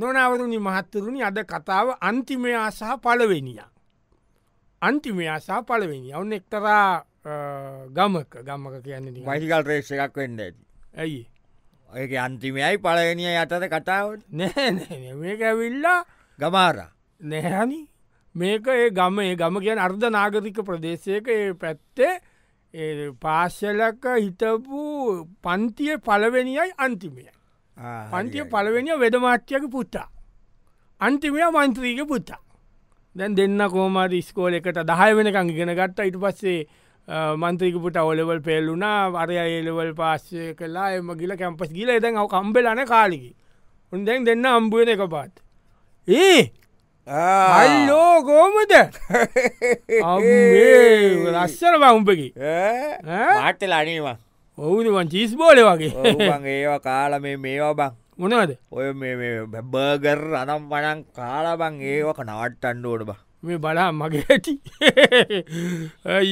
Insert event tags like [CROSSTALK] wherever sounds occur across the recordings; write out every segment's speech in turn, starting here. නොනවරුණි මහත්තරුණි අද කතාව අන්තිමයා සහ පලවෙනිය. අන්තිමයා සහ පලවෙනි ඔවුන් එක්තරා අ, ගමක ගම්මක කියන්නේ මයිසිකල් රේක්ෂ එකක් වෙන්න ඇති ඇයි ඒක අන්තිමයයි පලවෙනිය අතද කතාවට නැහැ මේක ඇවිල්ලා ගමාර නැහැනි මේක ඒ ගම ඒ ගම කියන අර්ධ නාගරික ප්‍රදේශයක ඒ පැත්තේ ඒ පාශලක හිටපු පන්තිය පලවෙනියයි අන්තිමය පන්තිය පලවෙනිය වෙදමාත්‍යක පුතා අන්තිමය මන්ත්‍රීක පුතා දැන් දෙන්න කෝමට ස්කෝල එකට දහය වෙනකං ගෙන ගත්තා ඉට පස්සේ අ, මන්ත්‍රීක පුට ඔලෙවල් පෙල්ලුනා වරය ඒලෙවල් පාශය කලා එම ගිල කැම්පස් ගිල එදැන් අව කම්බෙලන කාලිකි උන්දැන් දෙන්න අම්බුවන එක පාත් ඒ අල්ලෝ කෝමද රස්සර බවුම්පකි ඈ? මාට්ටල අනේවා ඔවුනිවන් චිස් බෝල වගේ ඔවුන් ඒවා කාල මේ මේවා බං මොනවද ඔය බර්ගර් අනම් වනන් කාලබං ඒවක නවට්ටන්ඩ ඕට [LAUGHS] බා මේ බලා මගේ ඇටි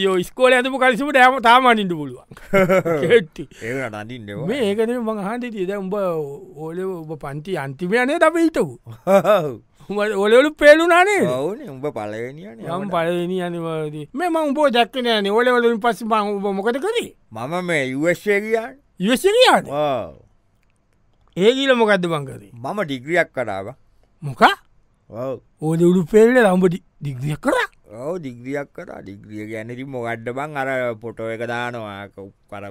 යෝ ස්කෝල ඇතම කලිසිමට ඇම තාමානින්ට පුළුවන් කෙට්ටි ඒ නඩින් දෙව මේ ඒකන මං හන්ටිටිය දැ උඹ ඕල ඔබ පන්ති අන්තිමයනේ ද පිහිටපු ඔලවලු පේලුනානේ ඔවුන උඹ පලවෙනිය යම් පලනි අනිවාද මේ මං බෝ දැක්කනෑන ඔලවලින් පස්ස මං උබ මොකද කරේ මම මේ යුවස්සේ කියන්න යසිරියාද ඒගීල මොකක්ද බං කරේ මම ඩිග්‍රියක් කඩාව මොක ඕද උළු පෙල්ල ලම්බ දිග්ිය කර ඔව දිග්‍රියක් කර ඩිග්‍රිය ගැනති මොකඩ්ඩ බං අර පොටෝ එක දානවා ක- කර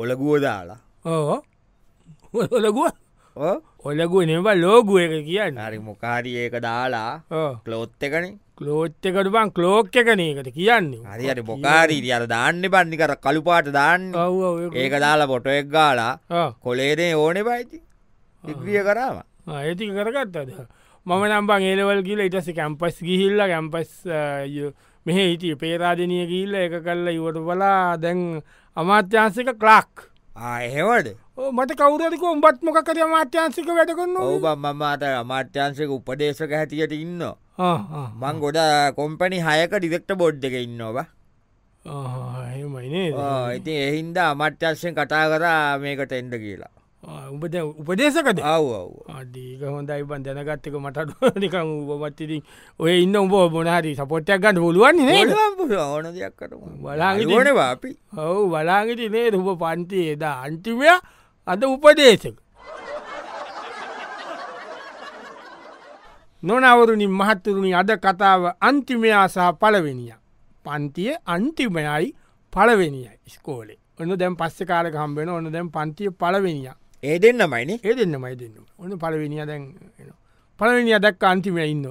ඔලගුව දාලා ඕ ඔලගුව ඕ? ඔලගුව නෙබ ලෝගුව එක කියන්න හරි මොකාරි ඒක දාලා කලෝත් එකන කලෝට් එකට බං කලෝක් එක නකට කියන්නේ හරි හරි මොකාරී අර දාන්න පන්නි කර කළුපාට දාන්න ඔව් ඔව් ඒක. ඒක දාලා පොට එක් ගාලා ආ. කොලේදේ ඕනෙ පයිති ඉක්්‍රිය කරාව ආ, ඒ ටික කරගත්තද මම නම්බං ඒලවල් කියල ඉටස කැම්පස් ගිහිල්ල කැම්පස් මෙහ හිටිය පේරාධනය ගිල්ල එක කල්ල ඉවට බලා දැන් අමාත්‍යන්සික කලාක් එහෙවද මට කවුරක උඹත් මොකර අමාත්‍යන්සික වැඩකන්න ඔවබ මම අත අමාත්‍යන්සක උපදේශක හැටියට ඉන්න මං ගොඩ කොම්පනි හයක ඩිෙක්ට බොඩ් එක ඉන්නවා හෙමයිනේ ඉති එහින්ද අමට්‍යර්ශයෙන් කටා කරා මේකට එන්ඩ කියලා උඹ දැන් උපදේශකද අව් අව් ආදීක හොඳයි බන් දැනගත්තක [LAUGHS] මටට නිකං උබමත්තිරින් ඔය ඉන්න උඹ බොනහරි සපොට්ටයක් ගන්න පුළුවන් නේද ඕන දෙයක් කරම බලාගෙන ඉන්න. ඕනවා අපි ඔවු බලාගෙට නේ රූප පන්ති එදා අන්තිමය අද උපදේශක නොනවරුණින් මහත්තරුණි අද කතාව අන්තිමයා සහ පලවෙනිය පන්තිය අන්තිමයයි පලවෙනිය ස්කෝලේ ඔන්න දැම් පස්ස කාලක හම්බෙන ඔන්න දැම් පන්තිය පලවෙනිය ඒ දෙන්න මයිනේ ඒ දෙන්න මයි දෙන්න ඔන්න පලවෙනිය දැන් එනවා. පලවෙනිය දැක් අන්තිමය ඉන්න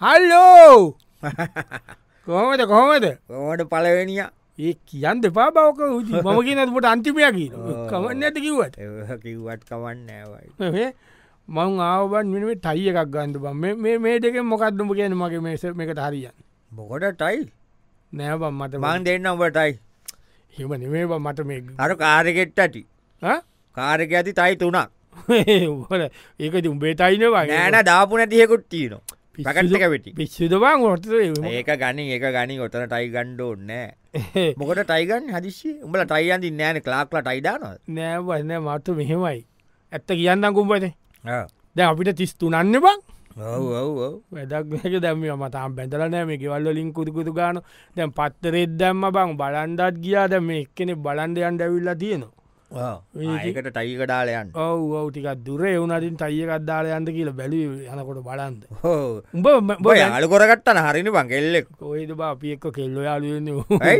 හල්ලෝ කොහොමද කොහොමද ඕට පලවෙනිය ඒ කියන් දෙපා බවක ූති මම කියනට අන්තිමයකි කමන්න ඇති කිවට කිව්වත් කවන්න ඇවයි මං ආවබන් වෙනේ ටයි එකක් ගන්ඩ බම් මේ මේ දෙක මොකක්දම කියන මගේ මේස එකට හරියන් මොකොට ටයි නෑබම් මට මං දෙන්න ඔබටයි හෙම නෙමේ බං මට මේ අර කාරගෙට්ටටි [LAUGHS] හ? කාරක ඇති තයි තුනක් උඹල ඒක උඹේටයින නෑන දාපු නැතියෙකුත් තියන පකටක වෙටි පිස්සිදවන් හොට ඒක ගනි ඒක ගනි ඔතන ටයි ගණ්ඩ ඕන්නෑ [LAUGHS] මොකට ටයිගන් හදිසි උඹල ටයියන්ති නෑන කලාක්ල ටයිදානොත් නෑවන්න මට මෙහෙමයි ඇත්ත කියන්න කුම්පනේ දැ අපිට තිස් තුනන්න බං ඔව ඔව ඔව වැඩක් දැම මතාම් පැදල නෑ මේ ගෙවල්ලින් කුදුකුතු ගාන දැන් පත්තරෙත් දැම්ම බං බලන්ඩත් ගියාද මේ එක්කෙනෙ බලන්ඩ යන්ඩ ඇවිල්ලා තියෙනවා ඒකට ටයිකඩාලයන් ඔව් ඔව ටිකක් දුරේ එවුනටින් තයියකත්දාල යන්ද කියලා බැලි යනකොට බලන්ද හෝ උඹ බොය අලකොරගත්තන හරිනි පංගෙල්ලෙක් කොයිද බා අපි එක්ක කෙල්ලො ඇයි? යාලුවෙන්නේ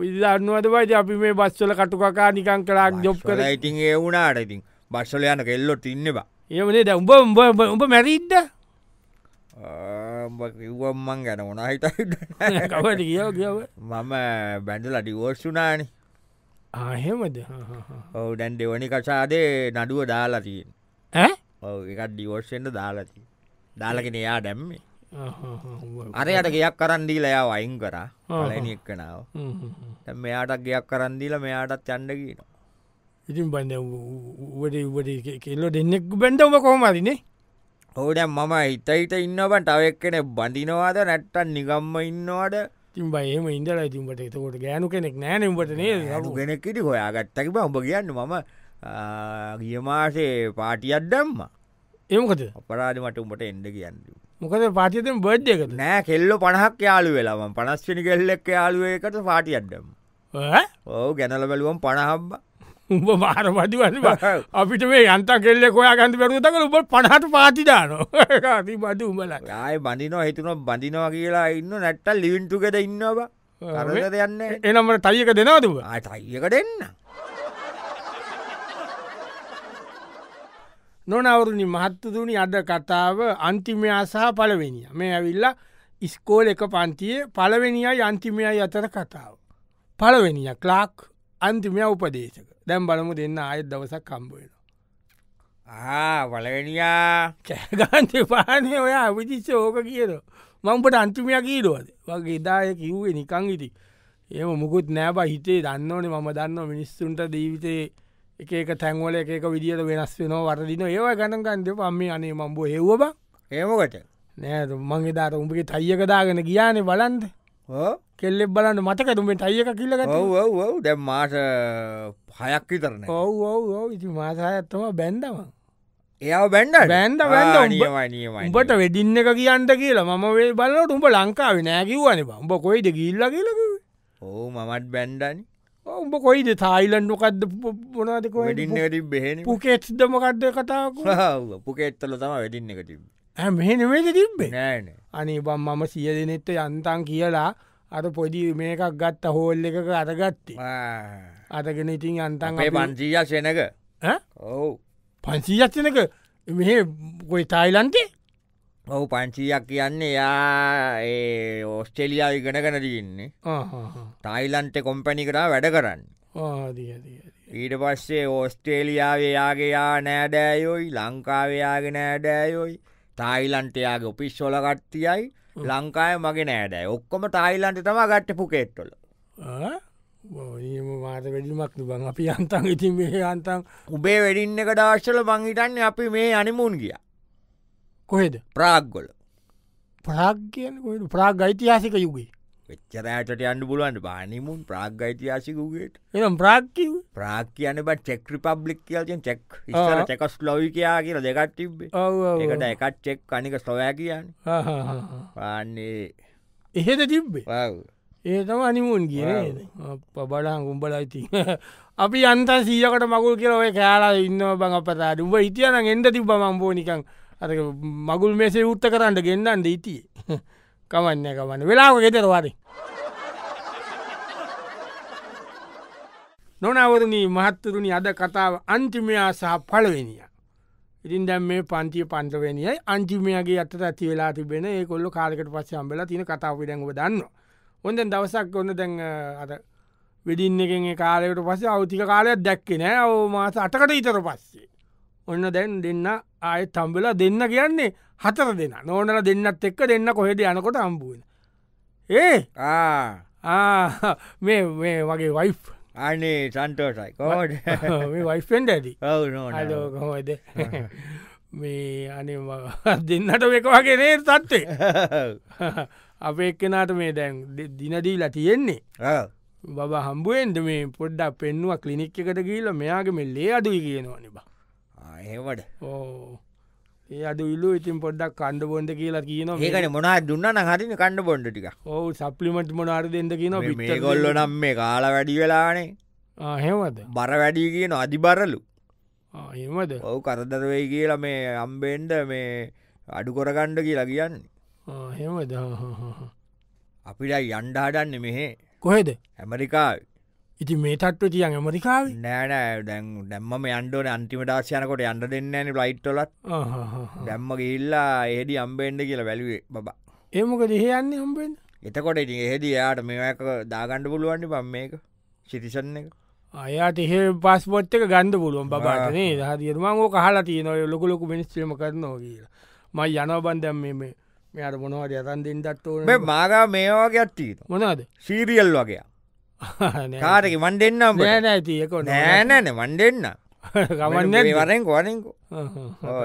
විල්ලන්නුවද බයි අපි මේ බස්වල කටුකකා නිකං කලාක් ජොබ් කර ඉතින් ඒ වුණට ඉතින් බස්සල යන කෙල්ලොත් ඉන්නවා ඒමනේ ද උඹ උඹ උඹ- උඹ මැරිද්ද [LAUGHS] කිව්වම්මන් ගැන මොනහිට කවට කියව කියව මම බැඳල ඩිවෝර්ෂුනානි ආහෙමද ඔව ඩැන් දෙවනි කසාදේ නඩුව දාලතියෙන් ඇ? ඔව එකත් ඩිවෝර්ෂෙන්ට දාලති දාලගෙන එයා දැම්මේ ආහාහා. අරයට ගයක් කරන්දී ලයා වයින් කරා පලනික්කනාව හ්ම් හ්ම් හ්ම්. මෙයාටක් ගයක් කරන්දීල මෙයාටත් චන්ඩගීන ඉතින් බන්න උවට උවට කෙල්ලො දෙන්නෙක් බැන්ඩම කොහමරිනේ හෝඩැම් මම හිත හිට ඉන්නවන් ටවක් කෙනෙ බඳිනවාද නැට්ටන් නිගම්ම ඉන්නවාට තින් බයම ඉඳල තින්ට එතකොට ගෑනු කෙනෙක් නෑනම්ට නේ ගෙනෙක්කිටි හොයාගත්තකිබ උඹ කියන්න මම ආ, ගිය මාසේ පාටියත් දැම්ම එමකද අපරාධ මට උඹට එන්ඩ කියන්න මොකද පාතිතෙන් බඩ් එකද නෑ කෙල්ලො පණහක් යාලු වෙලාම පනස්්ිනි කෙල්ලෙක් යාලුවකට පාටි අඩ්ඩම් ඈ? ඕ ගැනල බැලුවම් පණහම්බ උඹ මාර පටිවන්න අපිට මේ යන්ත කෙල්ල කොයා ගන්ති පරුතක උඹ පණහට පාතිදානෝ [LAUGHS] බඩු උඹලට ආය බඳිනෝ හිතුන බඳිනවා කියලා ඉන්න නැට්ටල් ලිවින්ටුකෙද ඉන්නවා කරදර යන්න එනම්ට තයික දෙනවතුව අයියකට එන්න නොනවරුණි මහත්තතුනි අද කතාව අන්තිමයා සහ පලවෙනිය මේ ඇවිල්ලා ඉස්කෝල එක පන්තියේ පලවෙනියයි අන්තිමයයි අතර කතාව. පලවෙනිය කලාක් අන්තිමය උපදේශක දැම් බලමු දෙන්න අයත් දවසක් කම්බුවෙන. ආ වලවෙනියා කෑගන්ත පානය ඔයා විදිච්ච ඕක කියද මංපට අන්තිමයක් කීරුවද වගේ දාය කිව්වේ නිකං ඉති ඒම මුකුත් නෑබ හිතේ දන්නවනේ මම දන්න මිනිස්සුන්ට දීවිතේ එක එක තැන්වල එක එක විදිියට වෙනස් වෙනවා වරදින ඒවා ගණන්ගන්ද පම්මේ අනේ මම්බෝ හෙව්ව බං ඒමකට නෑ මගේ දාට උඹගේ තයියකදාගෙන ගියානේ බලන්ද කෙල්ලෙක් බලන්න මතකතුමේ තයියක කිල්ලගත ඔව් දැම් මාස පයක් විතරන ඔව ඔව ඔව ඉති මාසායත්තම බැන්දම එයා බැන්ඩ බැන්ඩ බැන්ඩ උඹ- නියමයි උඹට වෙඩින්න එක කියන්ට කියලා මම වේ බලට උඹ ලංකාව නෑකිවන උඹ කොයිද ගිල්ල කියලක ඕ මමත් බැන්ඩනි උඹ කොයිද තායිලන්ඩොකක්ද මොනාදක වැඩින්නට බෙහෙන පුකෙට්දමකක්ද කතාක [LAUGHS] පුකෙත්තල තම වැඩින්න එක තිබ මෙහෙනවේද තිබ්බෙන නෑන අනේ බම් මම සිය දෙනෙත්ත යන්තන් කියලා අර පොඩි මේකක් ගත්ත හෝල් එකක [LAUGHS] අරගත්තේ අරගෙන ඉතින් අන්තන් තඟේ පන්සීය සෙනක ඈ? ඔවු පන්සීජත්නක මෙහ ගොයි තායිලන්තේ ඔහු පන්සීයක් කියන්නේ යා ඒ ඕස්ටෙලියා ඉගෙනගෙන තියන්නේ ටයිලන්ට කොම්පැණි කරා වැඩ කරන්න ඊට පස්සේ ඕස්ට්‍රේලියාවේ යාගේ යා නෑඩෑයොයි ලංකාවයාගේ නෑඩෑයොයි තායිලන්ටයාගේ ඔපිස් සොල ගට්තියයි ලංකාය මගේ නෑඩෑ ඔක්කොම ටයිලන්ට තම ගට්ට පුකෙට්ටොල බෝනීම මාත වැඩිමක් බං අපි අන්තන් ඉතින් මේ අන්තන් උබේ වැඩින්න එක දවශ්වල බංහිටන්න අපි මේ අනිමුන් ගිය කොහෙද ප්‍රාග්ගොල ප්‍රාග්ගයන කොහෙද? ප්‍රාග් ඓතිහාසික යුගේ වෙච්චරෑටට අන්න පුළුවන්ට බානිමුන් ප්‍රාග්ගයිතියාසිකුගේට එනම් ප්‍රාග්කිව ප්‍රාග් කියන බ චෙක් රිපබ්ලික් කියල්ෙන් චෙක් ඉස්සර ආ. චෙකස් ලොවි කියයා කියලා දෙකත් තිබ්බේ එකට එකත් චෙක් අනික ස්ලොවෑ කියන්න පාන්නේ එහෙද තිබ්බේ වව්. ඒතම අනිමුන් කියන පබලන් උඹලයිති [LAUGHS] අපි අන්ත සීයකට මගුල් කියලව කෑලා ඉන්න බං අපතාට උඹ හිටියන එන්ද තිබ මම්බෝනිකං අ මගුල් මේසේ උත්ත කරන්නට ගෙන්න්නන්ද [LAUGHS] ඉතියේ කමන්න කමන්න වෙලාව ගෙතරවාරි නොනවරණී මහත්තරුණි අද කතාව අන්තිමයා සහ පලවෙනිය ඉතින් දැම් මේ පන්තිය පන්ත්‍රවෙනියයි අංජිමයගේ අත ඇති වෙලා තිබෙන ඒ කොල්ල කාලකට පස්සයම්බල තින කතාව පිටැඟව දන්න. හොඳ දවසක් ඔන්න දැන් අ, අර වෙඩින්න එකෙන් කාලයකට පස්සේ අවතික කාලයක් දැක්කෙනෑ ඔව මාස අටකට ඉතර පස්සේ. ඔන්න දැන් දෙන්න ආය තම්බලා දෙන්න කියන්නේ හතර දෙන්න නෝනල දෙන්නත් එක්ක දෙන්න කොහෙද යනකොට අම්බුවෙන. ඒ ආ, ආ, මේ මේ වගේ වයි් [LAUGHS] අනේ සන්තෝසයි කෝඩ වයිෆෙන්ට ඇති ඔව [LAUGHS] නෝ අලෝකමද මේ අනේ මම [LAUGHS] දෙන්නට එක වගේ නේ තත්වේ [LAUGHS] අප එක්කෙනට මේ දැන් දෙ- දිනදීලා තියෙන්නේ බබ හම්බුවෙන්ද මේ පොඩ්ඩක් පෙන්නුව කලිනික් එකට ගීල මෙයාගේ මේ ලේ අඩුයි කියනවා නිබ ඒවට ඕ ඒ අද විල්ලු ඉතින් පොඩ්ඩක් කණ්ඩ බොන්ඩ කියලා කියනවා මේ- ඒකන මොනා දුන්න හරින කණ්ඩ පොන්්ඩටික ඔව් සප්ලිමට් මොනාර දෙද කියන මේ ගොල්ලො නම් මේ කාල වැඩි වෙලානේ හෙමද බර වැඩි කියන අධිබරලු හෙමද ඔවු කරදරවෙයි කියලා මේ අම්බෙන්ඩ මේ අඩු කොරගණ්ඩ කියලා කියන්නේ හෙමද අපිට යන්ඩ හඩන්න මෙහේ කොහෙද ඇමරිකාව ඉති මේ තත්ව තියන් ඇමරිකාවේ නෑනෑ දැන් දැම්ම යන්ඩෝන අන්තිමටාශයනකොට යන්ඩ දෙන්නන ලයිට්ටොලත් දැම්ම ඉල්ලා ඒඩි අම්බෙන්ඩ කියලා වැැලුවේ බබ ඒමක දෙහයන්නේ හම්බෙන් එතකොට ඉ හෙදි යාට මේක දාගණ්ඩ පුළුවන්ට පම් මේක සිටිසන් එක අයාට එහෙ පස්පොට් එක ගන්ඩ පුළුවන් බාටනේ හදිරමංගෝ කහලා තියනොය ලොකලොකු මිනිස්ත්‍රම කරනවා කියලා මයි යනබන්දැම් මේ මෙයාට මොනවට යතන් දෙෙන්ටත් ඕන මේ මාගා මේවාගේ අත්තිීත [LAUGHS] මොනාද සීරියල් වගේ කාරක වන් දෙන්නම් නෑ නැති එක නෑනෑන වන් දෙන්න [LAUGHS] ගමන්න වරෙන්ක වරෙන්කු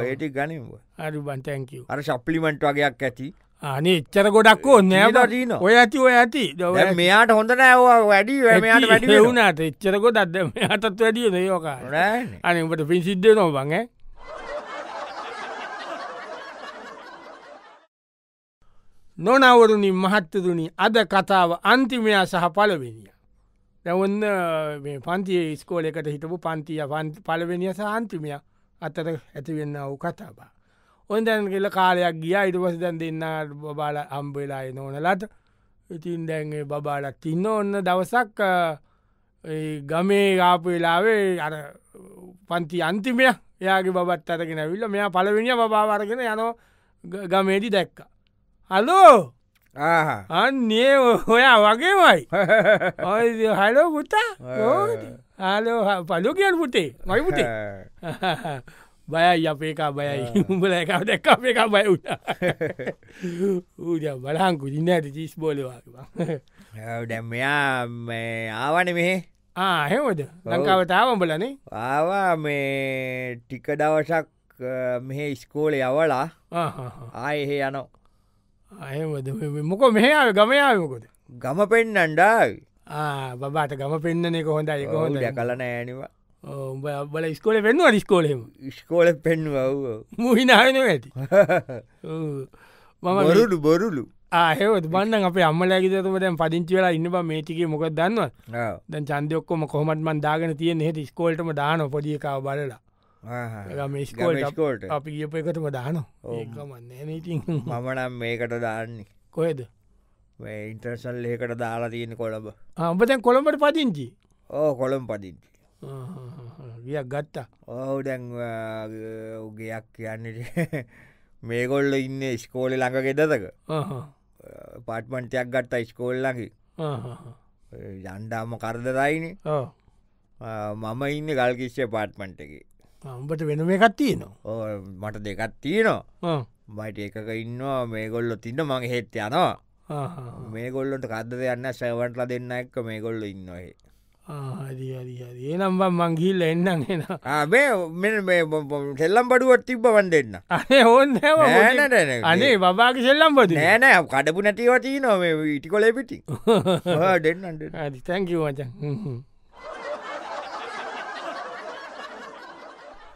ඒටි ගනිව අඩු බන්තැන්කව අර ශප්ලිමෙන්ට් වගේයක් ඇති අනේ එච්චර ගොඩක් ඕ සීලා නෑ තියනවා. ඔය ඇති ඔය ඇති දව දැන් මෙයාට හොඳ නෑවා වැඩි මෙයාට වැඩි වුණට එච්චරකො දත්ද අතත් වැඩිය දයෝකා නෑන අනට පින් සිද්ධ නොබං නොනවරුණින් මහත්තතුනි අද කතාව අන්තිමයා සහ පලවෙනිය. දැවන්න පන්තිය ස්කෝලෙකට හිටපු පන්තිය පලවෙනිය සහ අන්තිමය අතර ඇතිවෙන්න වූ කතාබා. ඔන් දැන් කෙල කාලයක් ගිය ඉටවස දැන් දෙන්න බබාල අම්බවෙලාය නොනලට ඉතින් දැන්ගේ බබාලක් තින්න ඔන්න දවසක් ගමේ ආපවෙලාවේ අර පන්ති අන්තිමය යාගේ බත් අරගෙන විල්ල මෙයා පලවෙනිිය බාවරගෙන යනෝ ගමේදි දැක්ක. හලෝ අන්නේ ඔයා වගේමයි ඔයි හලෝ පුතා හලෝ පලු කියල් පුතේ මයි පුතේ [LAUGHS] බයයි අපේකා බයයි උඹල එක දැක් අපේක බය උට [LAUGHS] ඌජ බලංකු දින්න ඇති චිස් බෝලවාකිවා [LAUGHS] දැම්මයා ආවන මෙහේ ආහෙමද ලංකාවතාව උඹලනේ ආවා මේ ටික දවසක් මෙහෙ ඉස්කෝල යවලා ආයෙහෙ යනෝ අයමද මොක මෙහාව ගමයාමකොද ගම පෙන්නන්ඩාවි බබාට ගම පෙන්න්නනෙක හොඳ එක හොඳ කලන ඇනවා උඹ බල ස්කෝල පෙන්වා නිස්කෝලෙම ස්කෝල පෙන්වව් මුහිනායන ඇති මම රුඩු බොරුලු ආහෙවත් බන්න අප අම්මලැකිතමට පදිංචි වෙලා ඉන්න මේටිකේ මොකක් දන්නව දැන් චන්දයක්කොම කොහමටමන් දාගෙන තියෙන හෙට ස්කෝල්ටම දාන පොඩියකාව බලලා මස්කෝල්ට අපි ගියප එකටම දාන ඒකමන්න ඉති මමනම් මේකට දාන්නේ කොහෙද ඉන්ටර්සල් ඒකට දාලා තියෙන කොළඹ අම්පතැන් කොළඹට පදිංචි ඕ කොළම් පදිංචි ගියක් ගත්තා ඔහු දැන් ගයක් කියන්නට [LAUGHS] මේගොල්ල ඉන්න ස්කෝලෙ ළඟ ගෙදතක පාට්මන්ටයක් ගත්තා ස්කෝල්ලකි යන්ඩාම කරදරයින මම ඉන්න ගල්කිශ්‍ය පාට්මන්ට එක උඹට වෙන මේකත් තියනවා මට දෙකත් තියනවා මයිට එකක ඉන්නවා මේගොල්ලො තින්න මගේ හෙත් යනවා මේගොල්ලොට කද දෙයන්න සැවටලා දෙන්න එක්ක මේගොල්ලො ඉන්නොහේ ඒනම් මංගිල්ල එන්නම් එෙන සෙල්ලම් බඩුවත් තිබ්බ වන් දෙන්න අනේ ඕන්න අනේ බාග සෙල්ලම් බද නෑනෑ කඩපු නැතිවතිී නොම ඉටි කොලේ පිටි දෙන්නට තැකිවචන්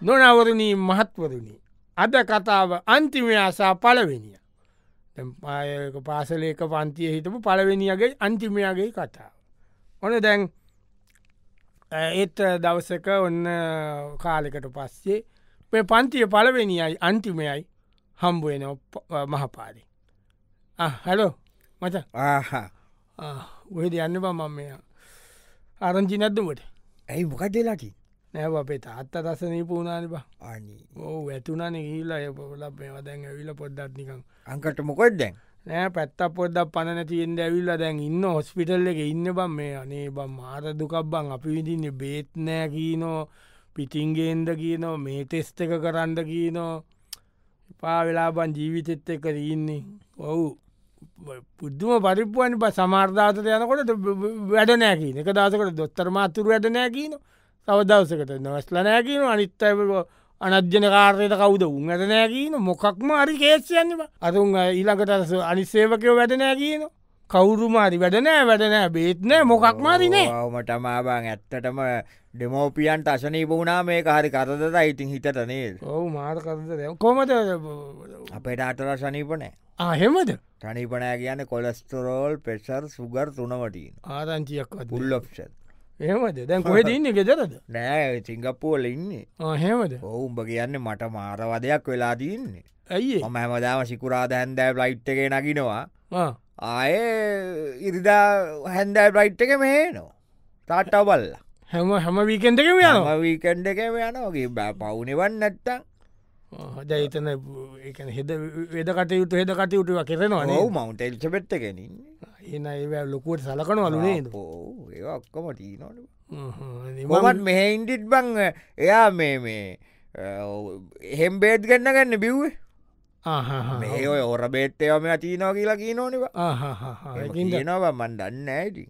නොනවරණී මහත්වරණී අද කතාව අන්තිමයාසා පලවෙනිය පායක පාසලේක පන්තිය හිටපු පලවෙනියගේ අන්තිමයාගේ කතාව. ඕන දැන් ඒත් දවසක ඔන්න කාලෙකට පස්සේ මේ පන්තිය පලවෙනියයි අන්තිමයයි හම්බුවෙන මහපාරි. හැලෝ මච ඔහෙද යන්න බ මම මෙ ආරංචි නැද්දමට ඇයි මොකදලාකින් නැව අපේ තාත්ත රසනී පූුණනි බා අනි ඕ ඇතුනන ගීලා එපොල මේවදැන් ඇවිල පොඩ්ඩත්නිකං අංකට මොකොත් දැන් නෑ පැත්ත පොඩ්ඩක් පණ තියෙන්ට ඇවිල්ල දැන් ඉන්න හොස්පිටල් එක ඉන්න බම් මේ අනේ බම් මාර දුකක්බං අපි විදින්නේ බේත් නෑ කියීනෝ පිටිංගේන්ද කියනෝ මේ ටෙස්ට එක කරන්න කියනෝ එපා වෙලාබන් ජීවිතෙත් එක ඉන්නේ ඔවු පුද්දුම පරිප්පුුවනි ප සමාර්ධාතර යනකොට වැඩ නෑකින එක දසකට දොත්තර මාතුරු වැඩ නෑ කියනවා තවදවසකට නවස්ලනෑකීන අනිත් අනධ්‍යන කාර්යට කවුද උන් ඇත නෑකීන මොකක්ම අරි කේච්චයන්නවා අතුන් ඊළකට අනිස්සේවකයෝ වැඩනෑකීන කවුරුමාරි වැඩනෑ වැඩනෑ බේත්නෑ මොකක්මාරිනේ මටමාබං ඇත්තටම ඩෙමෝපියන්ට අශනී පුුණා මේ හරි කරදද ඉතින් හිතට නේද ඔවු මාර කරද කොමද අපට අටර ශනීපනෑ ආහෙමද ටනිපනෑ කියන කොලස්ටරෝල් පෙසර් සුගර් තුනවටීන ආරංචියක් පුල්ලොප්ෂන් ඒමද දැන් කොහෙද ඉන්න ගෙදරද නෑ සිංගප්පුවල ඉන්නේ හෙමද ඔවුම්ඹ කියන්නේ මට මාරවදයක් වෙලා තියන්නේ ඇයි මම හැමදාම සිකුරාද හැන්දෑ ප්ලයිට් එක නකිනවා ආය ඉරිදා හැන්දෑ ප්ලයිට් එක මේනෝ තාට්ටවබල්ල හැම හැම වීකෙන්ටකම යන වීකන්ඩ එකම යනගේ බෑ පවුනෙවන් නැත්තං ජයිතන හෙද වෙද කටයුතු හෙද කටයුතුව කෙරෙනවා මවන්ට එල්චපෙත්ත කෙනින් එන ඒ ලොකුවට සලකන වලුනේ ඒක්කම ටීනොට මොමත් මෙහෙයින්ඩිට් බං එයා මේ මේ එහෙම් බේත් ගන්න ගන්න බිව්වේ මේ ඔය ඔර බේත්තයම තිීනෝ කියලා කිය නොනවා නවා මන් දන්න ඇති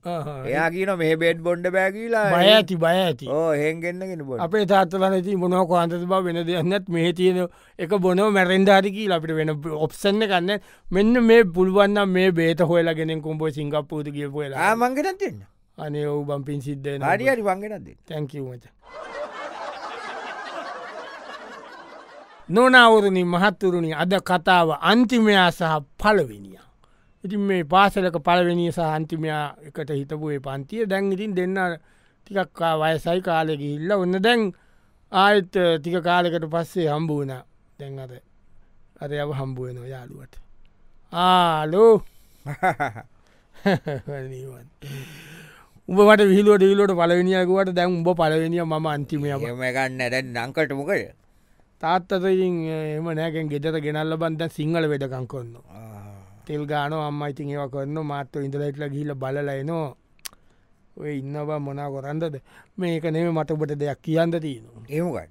එයා කියන මේ බේට් බොන්්ඩ බෑගීලා බය ඇති බය ඇති හෙන්ගෙන්න්නගෙන බො අපේ තාත්තලන ති මොනෝ කොන්ත බ වෙන දෙයන්නත් මේ තියෙන එක බොනෝ මැරෙන්ඩාරිකී අපිට වෙන ඔප්සන්න කන්න මෙන්න මේ පුළුවන්න මේ බේත හොයලාගෙනෙන් කුම්ඹෝ සිංගප්පූති කිය පොලා මංගෙනත් දෙන්න අනේ ඔවු බම්පින් සිද්ධ හරිරි වංගෙනත් [LAUGHS] දෙන්න තැන්කිවමච නොනවුරුණි මහත්තුරුණි අද කතාව අන්තිමයා සහ පලවිනිිය. ඉතින් මේ පාසලක පලවෙනි සහ අන්තිමයා එකට හිතපුේ පන්තිය දැන් ඉතින් දෙන්න ටිකක් වයසයි කාලෙ ගිහිල්ල ඔන්න දැන් ආයත් ටික කාලෙකට පස්සේ හම්බුවන දැන් අද අද යව හම්බුවන යාළුවට ආලෝ උඹට විහිලුවට විලට පලවෙනිියකුවට දැන් උඹ පලවෙනිිය ම අන්තිමය ගන්න දැන් නංකට මොකද තාත්තතින් එම නෑකෙන් ගෙතට ගෙනල්ල බන්ද සිංහල වෙඩකං කොන්න තෙල් ගාන අම්ම ඉතින් ඒව කරන්න මාත්ත ඉඳලයිටල ගිහිල බලලයිනවා ඔය ඉන්නවා මොනා කොරන්දද මේක නෙම මටබට දෙයක් කියන්න තියෙනවා ඒමකට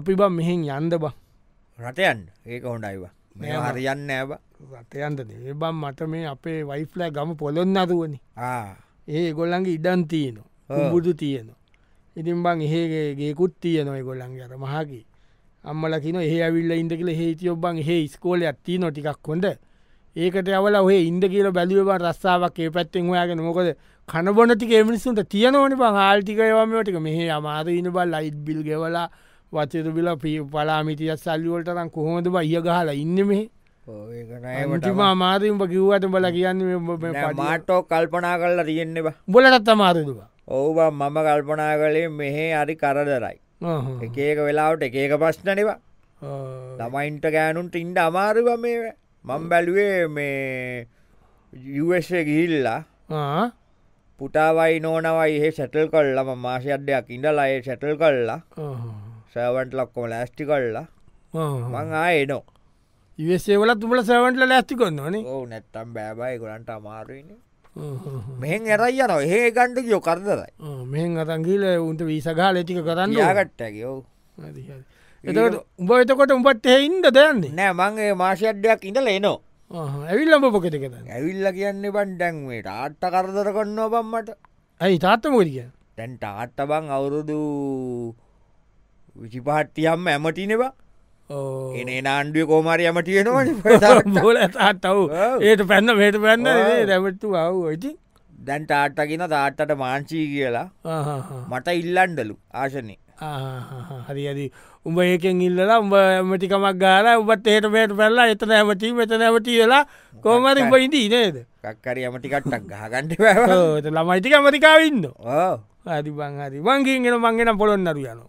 අපි බ මෙහෙන් යන්ද බ රටයන් ඒක හොඩයිවා මේ හරියන්න ඇබ රටයන්ද ඒබම් මට මේ අපේ වයිෆ්ලෑ ගම පොළොන්න අතුවනි ඒ ගොල්ලන්ගේ ඉඩන් තියනවා බුදු තියනවා ඉතින් බං ඒගේගේකුත් තියනොයි ගොල්ලන් අර මහකි අම්මල කින ඒ ඇවිල්ල ඉඳකල හේතියෝ බං ඒ ස්කෝල ඇත්ති නොටිකක් කොඩ ඒකට අවල ඔහේ ඉන්ද කියල බැලිව රස්සාාවක් ඒ පැත්තෙන් හයාගෙන මොකද කණබොනටික මිනිසුන්ට තියනවන පං ආල්ටිකයවමටික මෙහේ අමාද ඉන්න බල් ලයිට් බිල් ගෙවලා වචර බිල පී පලාමිටිය සල්ලිවලටරම් කොහොමද බිය ගහල ඉන්න මේ ටිම අමාරීම කිව්වට බල කියන්න මාටෝ කල්පනා කරලා තියෙන්නෙ බොලටත් අමාරදුව ඔවබ මම කල්පනා කළේ මෙහේ අරි කරදරයි එකක වෙලාවට එකක පශ්නනවා ළමයින්ට ගෑනුන්ට ඉන්ඩ අමාරුව මේ මං බැලුවේ මේ යුවස ගිහිල්ලා පුටාවයි නෝනවයි ඒ සැටල් කල්ලම මාසයක්දයක් ඉඳලා ඒ සැටල් කල්ලා සෑවන්ට ලක්කොම ලෑස්ටි කල්ලා මං ආයනෝ ඉවසේවල තුමල සැවන්ටල ලෑස්ති කොන්නන ඕ නැත්තම් බෑබයි ගොලන්ට අමාරුවන මෙහෙන් ඇරයි යන ඒ ගණ්ඩ කියෝ කරදරයි මෙහෙන් අතංගීල උන්ට වීසගා ලටික කරන්න යාගට්ටකෝ එතකට උඹ එතකොට උඹට එයින්ද දයන්නේ නෑ මංගේ මාසයක්්ඩයක් ඉඳල එනෝ ඇවිල් ලඹ පොකෙට කර ඇවිල්ල කියන්නේ බන්ඩැන්වේ ටාට්ට කරදර කන්න බම්මට ඇයි තාත්තමෝරිය තැන් ටාට්ට බං අවුරුදු විචිපහට්ටියම් ඇමටිනවා එන නාණ්ඩුව කෝමාරි [LAUGHS] ඇමටියෙනවා හොල තාත්තව ඒට පැන්න වේට පැන්න රැමට්තු අව ඉති දැන් ටාට්ටකින තාට්ටට මාංචී කියලා මට ඉල්ලන්ඩලු ආශනය හරිද උඹ ඒකෙන් ඉල්ලලා උඹ මටිකමක් ගාල උබත් ඒට පේට පැල්ලා එතන ඇමටී මෙතන ඇමටී වෙලා කෝමර උපයිට ඉනේද කක්කරි ඇමටිකට්ටක් ගහගන්ට ළමයිටික මතිකාවන්න ආදි බංහරි වංගේගෙන මංගෙන පොළොන්නරු යනවා